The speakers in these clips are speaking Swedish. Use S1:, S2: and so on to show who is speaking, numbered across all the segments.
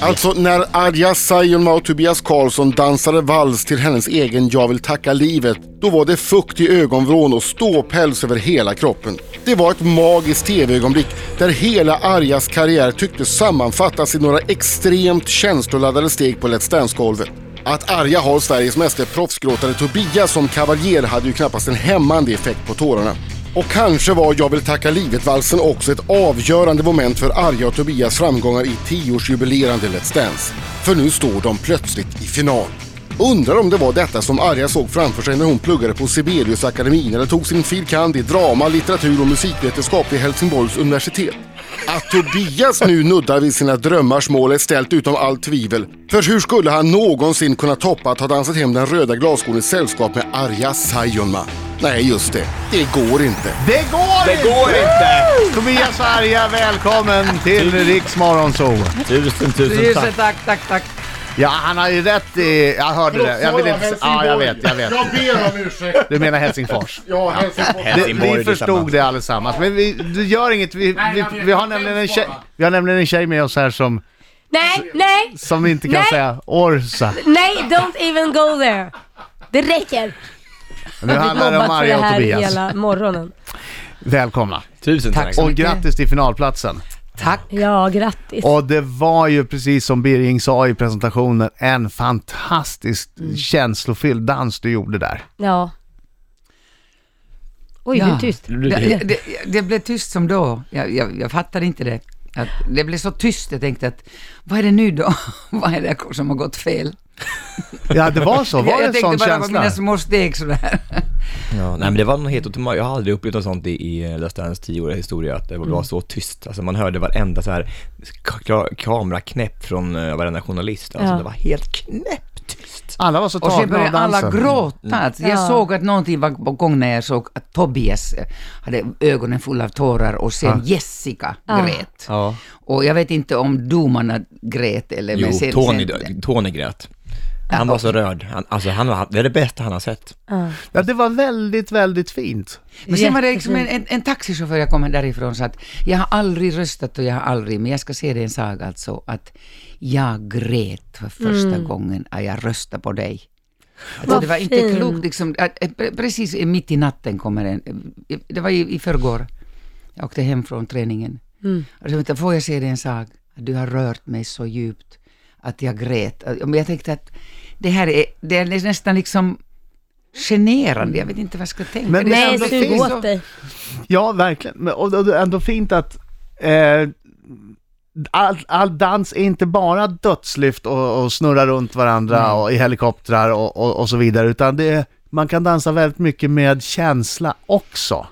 S1: Alltså när Arja Saijonmaa och Tobias Karlsson dansade vals till hennes egen Jag vill tacka livet, då var det fukt i ögonvrån och ståpäls över hela kroppen. Det var ett magiskt tv-ögonblick där hela Arjas karriär tycktes sammanfattas i några extremt känsloladdade steg på Let's Dance-golvet. Att Arja har Sveriges meste proffsgråtare Tobias som kavaljer hade ju knappast en hämmande effekt på tårarna. Och kanske var Jag vill tacka livet-valsen också ett avgörande moment för Arja och Tobias framgångar i 10-årsjubilerande Let's Dance. För nu står de plötsligt i final. Undrar om det var detta som Arja såg framför sig när hon pluggade på Sibeliusakademin eller tog sin fil. kand. i drama, litteratur och musikvetenskap vid Helsingborgs universitet. Att Tobias nu nuddar vid sina drömmars mål är ställt utom allt tvivel. För hur skulle han någonsin kunna toppa att ha dansat hem den röda glasskon i sällskap med Arja Saijonmaa? Nej, just det. Det går inte.
S2: Det går
S3: Det
S2: inte!
S3: går inte!
S2: Tobias Arja, välkommen till Riks Morgonzoo.
S3: Tusen, tusen
S4: Tusen
S3: tack.
S4: tack, tack, tack.
S2: Ja, han har ju rätt i... Jag hörde det. Jag vill inte... Ja, jag vet, jag vet.
S1: ber om ursäkt.
S2: Du menar Helsingfors.
S1: Ja, Helsingborg.
S2: Det,
S3: Helsingborg,
S2: vi
S3: det är
S2: förstod
S3: samma.
S2: det allesammans, men vi, det gör inget. Vi, vi,
S1: jag vet.
S2: vi, har nämligen en tjej, vi har nämligen en tjej med oss här som,
S5: Alltså,
S6: Nej, nej,
S2: som inte kan
S6: Nej.
S2: säga Orsa.
S6: nej, don't even go there. Det räcker.
S2: Nu
S6: Vi
S2: handlar det
S6: jobbat
S2: om
S6: för det
S2: Arja och
S6: här
S2: Tobias.
S6: hela morgonen.
S2: Välkomna!
S3: Tusen tack.
S2: Och grattis till finalplatsen!
S4: Tack.
S6: Ja, grattis.
S2: Och det var ju precis som Birging sa i presentationen, en fantastiskt
S4: Mm.
S2: känslofylld dans du gjorde där.
S6: Ja. Oj,
S4: Ja.
S6: du är tyst.
S4: Det, det, det blev tyst som då. Jag, jag, jag fattade inte det. Att det blev så tyst. Jag tänkte att, vad är det nu då? vad är det som har gått fel?
S2: Ja, det var så. Var
S4: jag
S2: det
S4: jag
S2: en
S4: tänkte
S2: sån
S4: bara på
S2: känsla?
S4: mina små steg sådär.
S3: Ja, nej men det var något helt otroligt. Jag har aldrig upplevt något sånt i, i Let's Dance 10-åriga historia, att det var mm. så tyst. Alltså man hörde varenda så här ka- kameraknäpp från eh, varenda journalist. Alltså
S6: Ja.
S3: det var helt knäpptyst.
S2: Alla var så
S4: Och sen
S2: tagna av
S4: började alla
S2: dansen. Mm.
S4: gråta. Att Jag
S6: Ja.
S4: såg att någonting var på gång när jag såg att Tobias eh, hade ögonen fulla av tårar och sen Jessica
S6: Ja.
S4: grät.
S3: Ja.
S4: Och jag vet inte om domarna grät eller...
S3: Jo,
S4: men sen,
S3: Tony,
S4: sen,
S3: Tony grät. Han var så rörd. Han, alltså han var, det är det bästa han har sett.
S2: Ja, det var väldigt, väldigt fint.
S4: Men sen var det liksom en, en, en taxichaufför jag kom därifrån så att jag har aldrig röstat och jag har aldrig, men jag ska se det i en saga alltså, att jag grät för första gången att jag röstade på dig. Alltså,
S6: Vad
S4: det var inte
S6: fin.
S4: klokt liksom, att, eh, pre- precis i- mitt i natten kommer en, eh, det var i, i förrgår, jag åkte hem från träningen. Och så tänkte jag, får jag se dig en sak? Du har rört mig så djupt att jag grät. Eh, Men jag tänkte att det här är, det är nästan liksom generande, jag vet inte vad jag ska tänka.
S2: Men-
S4: Det är
S6: Nej,
S4: ändå
S6: sug
S4: fint.
S6: åt dig.
S2: Ja, verkligen. Men- Och och det är ändå fint att eh, all, all dans är inte bara dödslyft och, och snurra runt varandra och i helikoptrar och, och, och så vidare, utan det är, man kan dansa väldigt mycket med känsla också.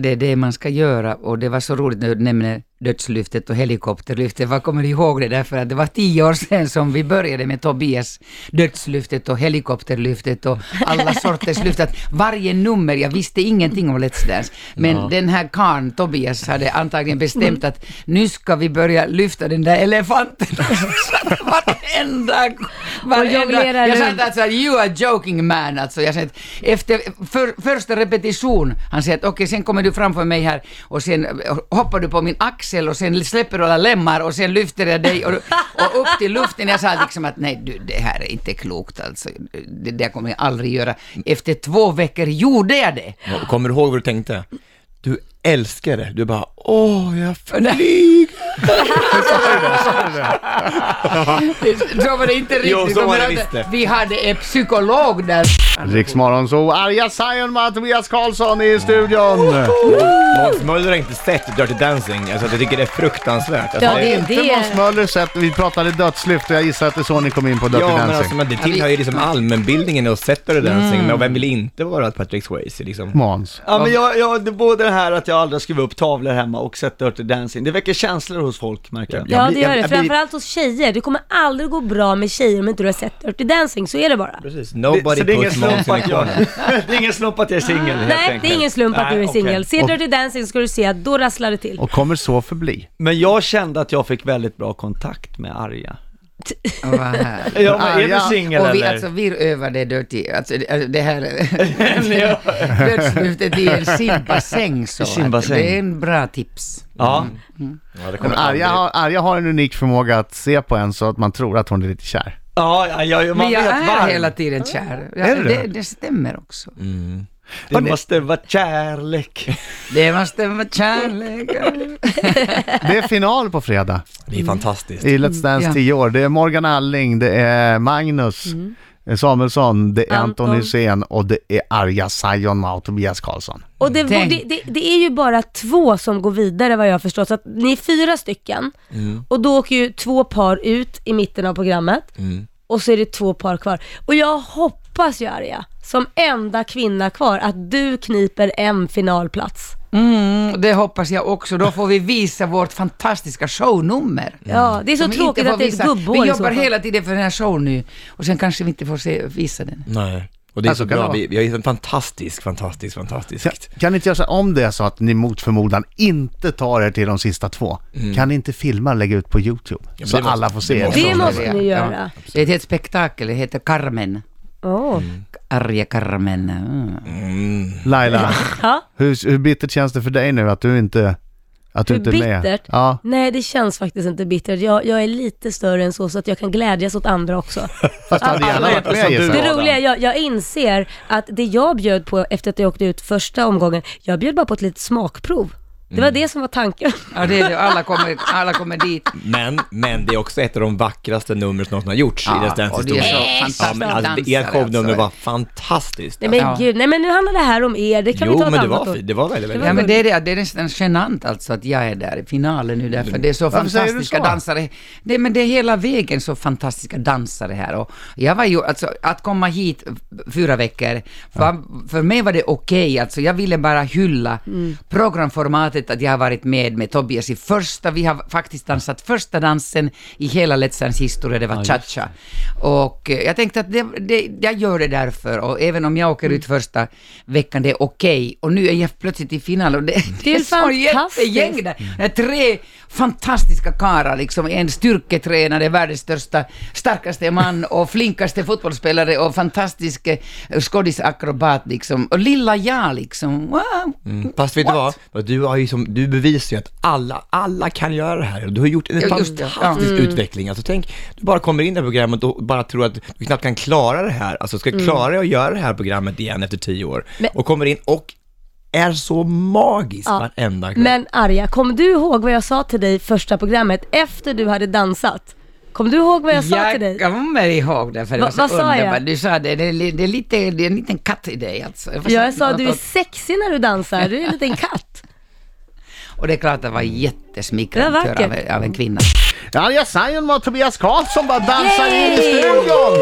S4: Det är det man ska göra och det var så roligt när du nämner dödslyftet och helikopterlyftet. Vad kommer du ihåg det? Därför att det var tio år sedan som vi började med Tobias dödslyftet och helikopterlyftet och alla sorters lyft. Att Varje nummer, jag visste ingenting om Let's Dance, men den här karln, Tobias, hade antagligen bestämt att nu ska vi börja lyfta den där elefanten. Så att varenda, varenda...
S6: jonglera
S4: Jag sa
S6: runt.
S4: inte alltså, you are joking man. Alltså, jag sa att efter för, första repetition, han säger att okej, sen kommer du framför mig här och sen eh, hoppar du på min axel och sen släpper du alla lemmar och sen lyfter jag dig och, och upp till luften. Jag sa liksom att nej, du, det här är inte klokt alltså. Det där kommer jag aldrig göra. Efter två veckor gjorde jag det.
S3: Och Kommer du ihåg vad du tänkte? Du älskar det. Du bara, åh, jag flyger.
S4: Det- Så var det inte riktigt.
S3: Jo, så var det
S4: Men
S3: visst det.
S4: Vi hade en psykolog där.
S2: Riksmorgon så Arja Saijonmaa, Tobias Karlsson i studion.
S3: Måns Möller har inte sett Dirty Dancing, alltså jag tycker det är fruktansvärt. Alltså,
S6: Ja,
S3: det-
S6: det är
S2: Inte Måns Möller sett, vi pratade dödslyft och jag gissar att det är så ni kom in på Dirty
S3: Ja, men
S2: Dancing.
S3: alltså, men det tillhör ju liksom allmänbildningen och sätter
S6: Mm.
S3: det dancing, men vem vill inte vara ett Patrick Swayze liksom?
S2: Måns.
S5: Ja men jag, jag, det är både det här att jag aldrig har skrivit upp tavlor hemma och sett Dirty Dancing, det väcker känslor hos folk märker jag.
S6: Ja,
S5: jag
S6: det
S5: blir-
S6: gör
S5: jag-
S6: det.
S5: jag blir-
S6: Framförallt hos tjejer. Det kommer aldrig gå bra med tjejer om inte du har sett Dirty Dancing. Så är det bara.
S3: Precis,
S5: det,
S3: nobody
S5: så det är ingen
S3: puts Måns
S5: slump
S3: in i
S5: att jag,
S3: kvarnen.
S5: det är ingen slump att jag är singel helt
S6: Nej, det
S5: enkelt.
S6: är ingen slump att
S5: Nej,
S6: du är
S5: okej.
S6: singel. Se Dirty Dancing så ska du se att då rasslar det till.
S2: Och kommer så förbli.
S5: Men jag kände att jag fick väldigt bra kontakt med Arja.
S4: Och vad härligt.
S5: Ja, men är
S2: Arga.
S5: du singel
S4: Och vi,
S5: eller?
S4: alltså, vi övade dirty, alltså det- alltså, det här
S5: Ja.
S4: dödslyftet i en simbassäng så
S5: I simbassäng.
S4: att det är en bra tips.
S5: ja.
S3: Ja, det
S2: Men
S3: kommer
S2: Arja
S3: aldrig-
S2: har, Arja har en unik förmåga att se på en så att man tror att hon är lite kär.
S5: Ja, ja, ja, man
S4: Men jag
S5: vet
S4: är
S5: varm.
S4: hela tiden kär. Ja,
S2: Är du
S4: det,
S2: det?
S4: det stämmer också.
S5: Det måste vara kärlek.
S4: Det måste vara kärlek.
S2: Det är final på fredag
S3: Det är fantastiskt.
S2: i Let's Dance
S4: Ja.
S2: 10 år. Det är Morgan Alling, det är Magnus Samuelsson, det är Anton
S6: Anton.
S2: Hysén och det är Arja Saijonmaa och Tobias Karlsson.
S6: Och det, och
S4: Tänk.
S6: det, det, det är ju bara två som går vidare vad jag förstår, så att ni är fyra stycken. Och då åker ju två par ut i mitten av programmet. Och så är det två par kvar. Och jag hoppas ju Arja, som enda kvinna kvar, att du kniper en finalplats.
S4: Mm, det hoppas jag också. Då får vi visa vårt fantastiska shownummer.
S6: Ja, det är så
S4: Som vi inte
S6: tråkigt
S4: får
S6: att det är ett
S4: visa.
S6: gubbhår
S4: Vi
S6: i så
S4: jobbar
S6: fall.
S4: hela tiden för den här showen nu och sen kanske vi inte får se, visa den.
S3: Nej. Och det är
S2: Alltså,
S3: så
S2: kan det
S3: bra.
S2: vara?
S3: Vi, vi har hittat en fantastisk, fantastisk, fantastisk.
S2: Kan ni inte göra så här, om det är så att ni mot förmodan inte tar er till de sista två, kan ni inte filma och lägga ut på YouTube?
S3: Mm. men
S2: så
S3: det måste-
S2: alla får se
S3: det
S2: er.
S3: måste-
S6: Det måste ni
S4: Ja.
S6: göra.
S4: Det är ett helt spektakel, det heter Carmen.
S6: Åh.
S4: Arga Carmen. Mm.
S3: Mm.
S2: Laila,
S6: Ja.
S2: hur, hur bittert känns det för dig nu att du inte, att du
S6: Hur
S2: inte är med?
S6: bittert?
S2: Ja.
S6: Nej, det känns faktiskt inte bittert. Jag, jag är lite större än så, så att jag kan glädjas åt andra också.
S2: Fast du hade gärna
S5: Alla
S2: varit
S5: heter som
S2: med
S5: du.
S2: gissar
S6: Det
S5: Adam.
S6: roliga, är, jag, jag inser att det jag bjöd på efter att jag åkte ut första omgången, jag bjöd bara på ett litet smakprov. Det
S3: Mm.
S6: var det som var tanken.
S4: Ja, det är det. Alla kommer, alla kommer dit.
S3: Men, men det är också ett av de vackraste numren som någonsin har gjorts i
S4: Ja,
S3: Let's Dance
S4: och det är
S3: historia.
S4: så
S3: Ja, men
S4: fantastiska
S3: alltså, det- ert
S4: dansare,
S3: shownummer
S4: alltså.
S3: var fantastiskt.
S6: Nej men
S4: Ja.
S6: gud, nej men nu handlar det här om er, det kan
S3: jo,
S6: vi ta ett
S3: men det
S6: annat
S3: var,
S6: år.
S3: fint. det var väldigt, väldigt bra.
S4: Ja, men det, är det, det är nästan genant alltså att jag är där i finalen nu därför det är så
S2: Varför säger du
S4: fantastiska
S2: så?
S4: dansare. Det, men det är hela vägen så fantastiska dansare här och jag var ju, alltså att komma hit fyra veckor, var, för mig var det okej, alltså jag ville bara hylla programformatet att jag har varit med med Tobias i första, vi har faktiskt dansat första dansen i hela Let's Dance historia, det var cha-cha. Och eh, jag tänkte att det, det, jag gör det därför och även om jag åker ut första veckan, det är okej. Och nu är jag plötsligt i final och det, det är så
S6: är fantastiskt.
S4: jättegäng där. Det är Eh, tre fantastiska karlar liksom. En styrketränare, världens största, starkaste man och flinkaste fotbollsspelare och fantastisk eh, skådisakrobat liksom. Och lilla jag liksom. Wow.
S3: Mm. Fast vet du vad? Vad Du, har ju som, du bevisar ju att alla, alla kan göra det här. Du har gjort en
S4: Ja, just det. Ja. Mm.
S3: fantastisk utveckling. Alltså tänk, du bara kommer in i det här programmet och bara tror att du knappt kan klara det här. Alltså
S4: Mm.
S3: ska klara dig att göra det här programmet igen efter tio år.
S6: Men-
S3: och kommer in och är så magisk
S6: Ja.
S3: varenda kväll.
S6: Men Arja, kom du ihåg vad jag sa till dig första programmet efter du hade dansat? Kom du ihåg vad jag sa till dig?
S4: Jag kommer ihåg det för det
S6: Va-
S4: var så
S6: vad sa jag?
S4: underbart. Du sa det, det, är li- det, är lite, det är en liten katt i dig alltså. Vad
S6: Ja, jag sa du är
S4: något-
S6: sexig när du dansar, du är en liten katt.
S4: Och det är klart att det var jättesmickrande
S6: Det var
S4: att höra av,
S6: vackert.
S4: av en
S3: Mm.
S4: kvinna.
S2: Arja Saijonmaa och Tobias Karlsson bara dansar in i
S6: Yay!
S2: studion!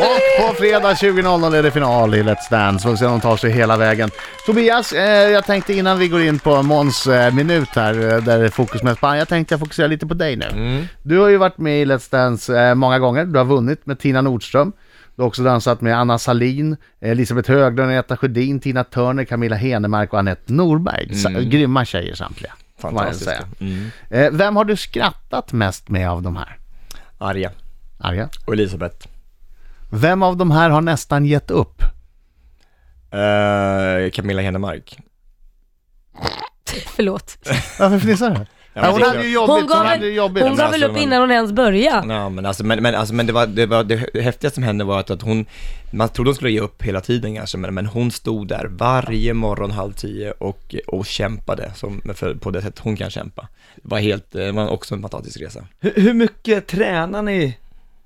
S2: Och på fredag 20.00 är det final i Let's Dance. Får vi se om de tar sig hela vägen. Tobias, eh, jag tänkte innan vi går in på Måns eh, minut här, eh, där det är fokus mest på Arja, tänkte jag fokusera lite på dig nu. Du har ju varit med i Let's Dance eh, många gånger. Du har vunnit med Tina Nordström. Du har också dansat med Anna Salin, Elisabeth Höglund, Agneta Sjödin, Tina Turner, Camilla Henemark och Anette Norberg. Mm. Grymma tjejer samtliga. får man
S3: Fantastiska.
S2: säga.
S3: Mm.
S2: Eh, Vem har du skrattat mest med av de här?
S3: Arja
S2: Arja?
S3: och Elisabeth.
S2: Vem av de här har nästan gett upp?
S3: Eh, Camilla Henemark.
S6: Förlåt.
S2: Varför fnissar du?
S3: Ja, men
S2: hon
S3: det-
S2: hade ju jobbigt.
S6: Hon gav
S2: hade ju
S6: väl,
S2: jobbigt.
S6: hon gav väl upp
S3: men-
S6: innan hon ens började.
S3: Ja, men alltså, men, men, alltså, men det, var, det, var, det häftigaste som hände var att, att hon, man trodde hon skulle ge upp hela tiden kanske, men, men hon stod där varje morgon halv tio och, och kämpade som, för, på det sätt hon kan kämpa. Det var helt, det var också en fantastisk resa.
S5: Hur, hur mycket tränar ni?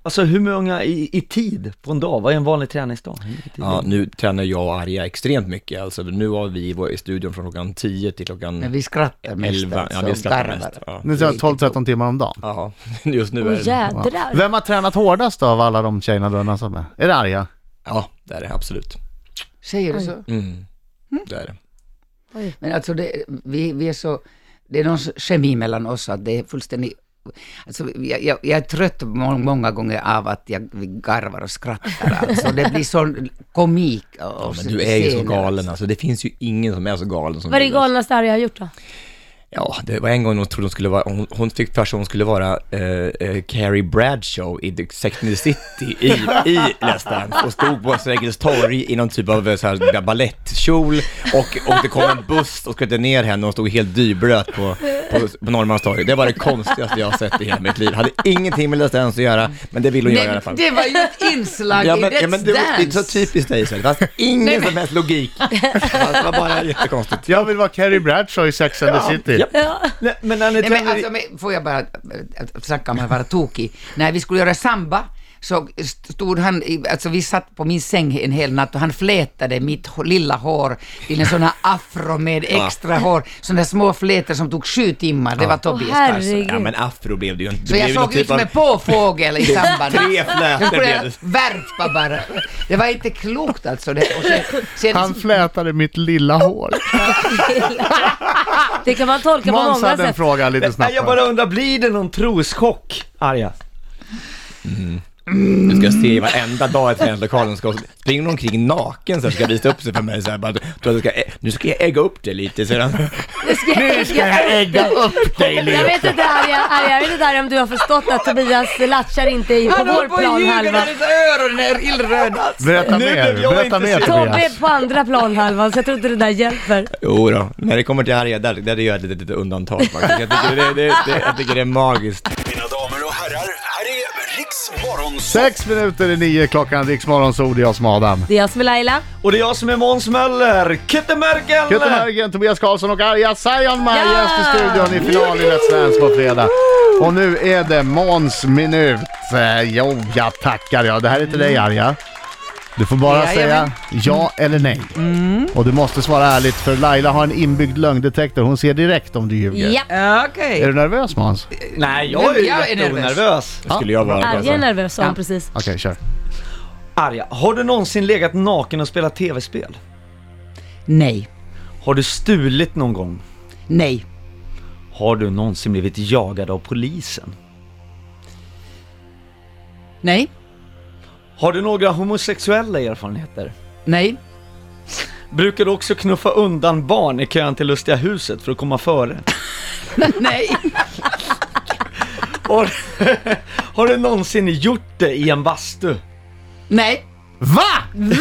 S5: Alltså hur många i, i tid på en dag? Vad är en vanlig träningsdag? Hur mycket tid?
S3: Ja, nu tränar jag och Arja extremt mycket, alltså nu har vi vår, i studion från klockan tio till
S4: Men
S3: klockan
S4: vi skrattar mest
S3: elva.
S4: alltså,
S3: Ja, vi
S4: och
S3: skrattar
S4: garvar.
S3: mest. Ja.
S2: Nu sa jag 12-13 timmar om dagen.
S3: ja, just nu
S6: Åh
S3: är det...
S6: jädrar.
S2: Vem har tränat hårdast av alla de tjejerna du har dansat med? Är det Arja?
S3: Ja, det är det, absolut.
S4: Säger du så?
S3: Mm. Det är det.
S4: Men alltså, det, vi, vi är så... Det är någon kemi mellan oss att det är fullständigt... Alltså, jag, jag, jag är trött må- många gånger av att jag vi garvar och skrattar. Alltså, det blir sån komik. Och,
S3: Ja,
S4: och
S3: men du är ju så alltså.
S4: scener. alltså.
S3: galen alltså, det finns ju ingen som är så galen som
S6: Vad är det
S3: du, alltså.
S6: galnaste Arja har gjort då?
S3: Ja, det var en gång hon trodde hon skulle vara, hon, hon tyckte först att hon skulle vara eh, eh, Carrie Bradshaw i The Sex and the City i, i Let's Dance och stod på Sergels torg i någon typ av eh, så här, balettkjol och, och det kom en buss och skötte ner henne och hon stod helt dyblöt på, på, på Norrmalmstorg. Det var det konstigaste jag har sett i hela mitt liv. Hade ingenting med Let's Dance att göra, men det ville hon göra i alla fall.
S4: det var ju ett inslag
S3: Ja
S4: i
S3: men,
S4: Let's
S3: ja, men det, var, det är
S4: Dance.
S3: så typiskt dig Sven, det fanns ingen som helst logik. Det var bara jättekonstigt.
S2: Jag vill vara Carrie Bradshaw i Sex and the City.
S3: ja.
S5: Nej, men när ni
S4: Nej, men
S5: tränade...
S4: alltså, men får jag bara äh, äh, snacka om att vara tokig. När vi skulle göra samba så stod han, i- alltså vi satt på min säng en hel natt och han flätade mitt hå- lilla hår till en sån här afro med extra hår, sådana där små flätor som tog sju timmar, det var
S6: Åh
S4: Tobias Karlsson.
S6: herregud.
S3: Ja men afro blev det ju typ inte.
S4: Så jag såg liksom en påfågel i samband.
S3: Tre flätor
S4: Jag
S3: blev
S4: skulle
S3: det.
S4: värpa bara. Det var inte klokt alltså. Det. Och sen, sen,
S2: Han flätade mitt lilla hår.
S6: Det kan man tolka på
S2: Måns
S6: många
S2: hade en
S6: sätt.
S2: fråga lite snabbt.
S5: Nej, jag bara undrar, blir det någon troschock, Arja?
S3: Du ska se varenda dag i träningslokalen, ska, springer hon omkring naken så här, ska visa upp sig för mig så här, bara, tror att du ska, nu ska jag ägga upp dig lite sedan.
S6: Nu ska jag ägga upp dig lite. Jag vet inte Arja, Arja, jag vet inte Arja om du har förstått att Tobias latchar inte i på vår plan halva.
S3: öron är illröda.
S2: Berätta
S3: Nu
S2: mer,
S3: blev jag
S2: berätta mer
S3: intresserad.
S6: Tobbe
S2: Tobias.
S6: är på andra planhalvan så jag tror inte det där hjälper.
S3: Jo då, när det kommer till Arja, där, där gör jag ett litet undantag faktiskt. Jag tycker det, det, det, jag tycker det är magiskt.
S7: Mina damer och herrar, här är Riks Morgonzoo!
S2: Sex minuter i nio klockan, Riksmorgonzoo, det är jag som är Adam.
S6: Det är jag som är Laila.
S5: Och det är jag som är Måns Möller, Kittemörkel!
S2: Göte Berggren, Tobias Karlsson och Arja Saijonmaa
S6: Ja!
S2: gäst i studion i final i Let's Dance på fredag. Och nu är det Måns minut. Eh, Jo, jag tackar jag. Det här är till dig Arja. Du får bara
S4: Jajamän.
S2: säga ja eller nej. Och du måste svara ärligt för Laila har en inbyggd lögndetektor. Hon ser direkt om du ljuger.
S6: Ja.
S4: Okej.
S2: Är du nervös Måns? Okej,
S5: Nej, jag är
S4: Men
S5: ju
S4: jag är
S5: rätt
S4: nervös.
S5: onervös.
S3: Skulle jag vara.
S6: Arja är
S3: Alltså.
S6: nervös sa hon
S4: Ja.
S6: precis.
S2: kör.
S5: Arja, har du någonsin legat naken och spelat tv-spel?
S4: Nej,
S5: Har du stulit någon gång?
S4: nej,
S5: Har du någonsin blivit jagad av polisen?
S4: nej,
S5: Har du några homosexuella erfarenheter?
S4: nej,
S5: Brukar du också knuffa undan barn i kön till Lustiga huset för att komma före?
S4: nej,
S5: Har, har du någonsin gjort det i en bastu?
S4: nej.
S2: Va?
S4: Va?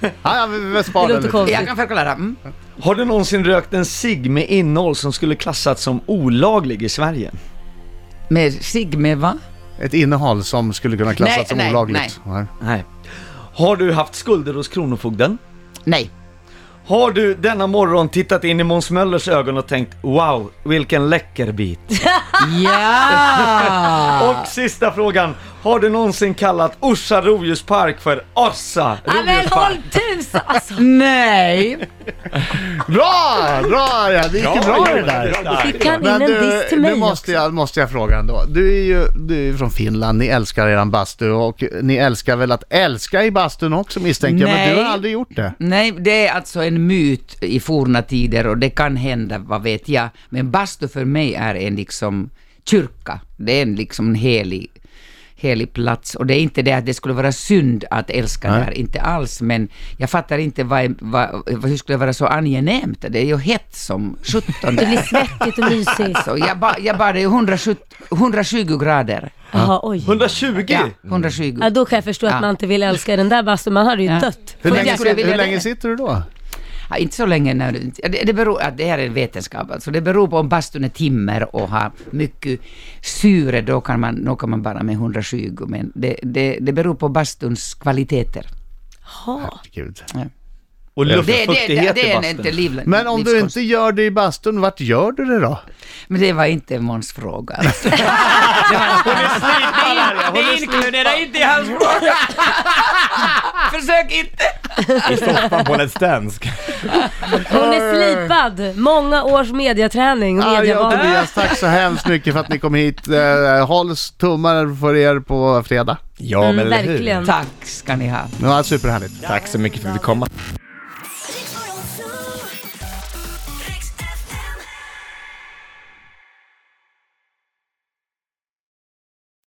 S2: Ja, ja, vi, vi sparar
S6: Det
S2: den
S6: låter
S2: lite.
S6: konstigt.
S4: Jag kan förklara. Mm.
S5: Har du någonsin rökt en cigg med innehåll som skulle klassats som olaglig i Sverige?
S4: Med Sigme, va?
S2: Ett innehåll som skulle kunna klassas
S4: Nej,
S2: som
S4: nej,
S2: olagligt. Nej.
S5: Nej. Har du haft skulder hos Kronofogden?
S4: Nej,
S5: Har du denna morgon tittat in i Måns Möllers ögon och tänkt “Wow, vilken läcker bit”?
S4: Ja!
S5: Och sista frågan, har du någonsin kallat Orsa rovdjurspark för Orsa
S4: Ah.
S6: Ja, men håll
S5: rovdjurspark?
S6: tusen! Alltså,
S4: Nej!
S2: Bra! Bra Arja! Det gick ju bra det där.
S6: fick han in
S2: Men
S6: en
S2: du,
S6: diss till
S2: nu
S6: mig
S2: måste jag, måste jag fråga ändå. Du är ju du är ju från Finland, ni älskar eran bastu och ni älskar väl att älska i bastun också misstänker jag, men
S4: Nej.
S2: du har aldrig gjort det.
S4: Nej, det är alltså en myt i forna tider och det kan hända, vad vet jag. Men bastu för mig är en liksom kyrka. Det är en liksom en helig, helig plats. Och det är inte det att det skulle vara synd att älska där, inte alls. Men jag fattar inte vad, vad, vad, hur skulle det vara så angenämt? Det är ju hett som sjutton
S6: Det blir
S4: där.
S6: svettigt och mysigt.
S4: Så jag, ba, jag badade ju 170, 120 grader.
S6: Jaha, oj.
S5: 120?
S4: Ja, 120.
S6: Ja, då kan jag förstå att
S4: Ja.
S6: man inte vill älska den där bastun, man hade ju
S4: Ja.
S6: dött.
S2: Hur
S4: Men
S2: länge,
S4: jag skulle vilja
S2: hur länge
S4: det.
S2: sitter du då?
S4: Ja, inte så länge när du, det, det, beror, ja, det här är vetenskap alltså. Det beror på om bastun är timmer och har mycket syre, då kan man, då kan man bara med 120. Men det, det, det beror på bastuns kvaliteter.
S6: Jaha.
S2: Gud.
S5: Och
S4: Det, det, det,
S5: luftfuktighet
S4: det
S5: i
S4: är inte
S5: bastun?
S4: liv,
S2: Men om du inte gör det i bastun, vart gör du det då?
S4: Men det var inte Måns fråga. Alltså.
S3: Det inkluderar inte i hans fråga.
S4: Försök inte!
S3: I soffan på Let's Dance.
S6: Hon är slipad, många års mediaträning och
S2: Arja och
S6: medievana.
S2: Tobias, tack så hemskt mycket för att ni kom hit. Eh, Hålls tummar för er på fredag.
S3: Ja men
S6: Mm,
S3: eller hur?
S6: verkligen.
S4: Tack ska ni ha.
S2: Det var superhärligt.
S3: Tack så mycket för att vi fick komma.
S8: Riks Morgonzoo.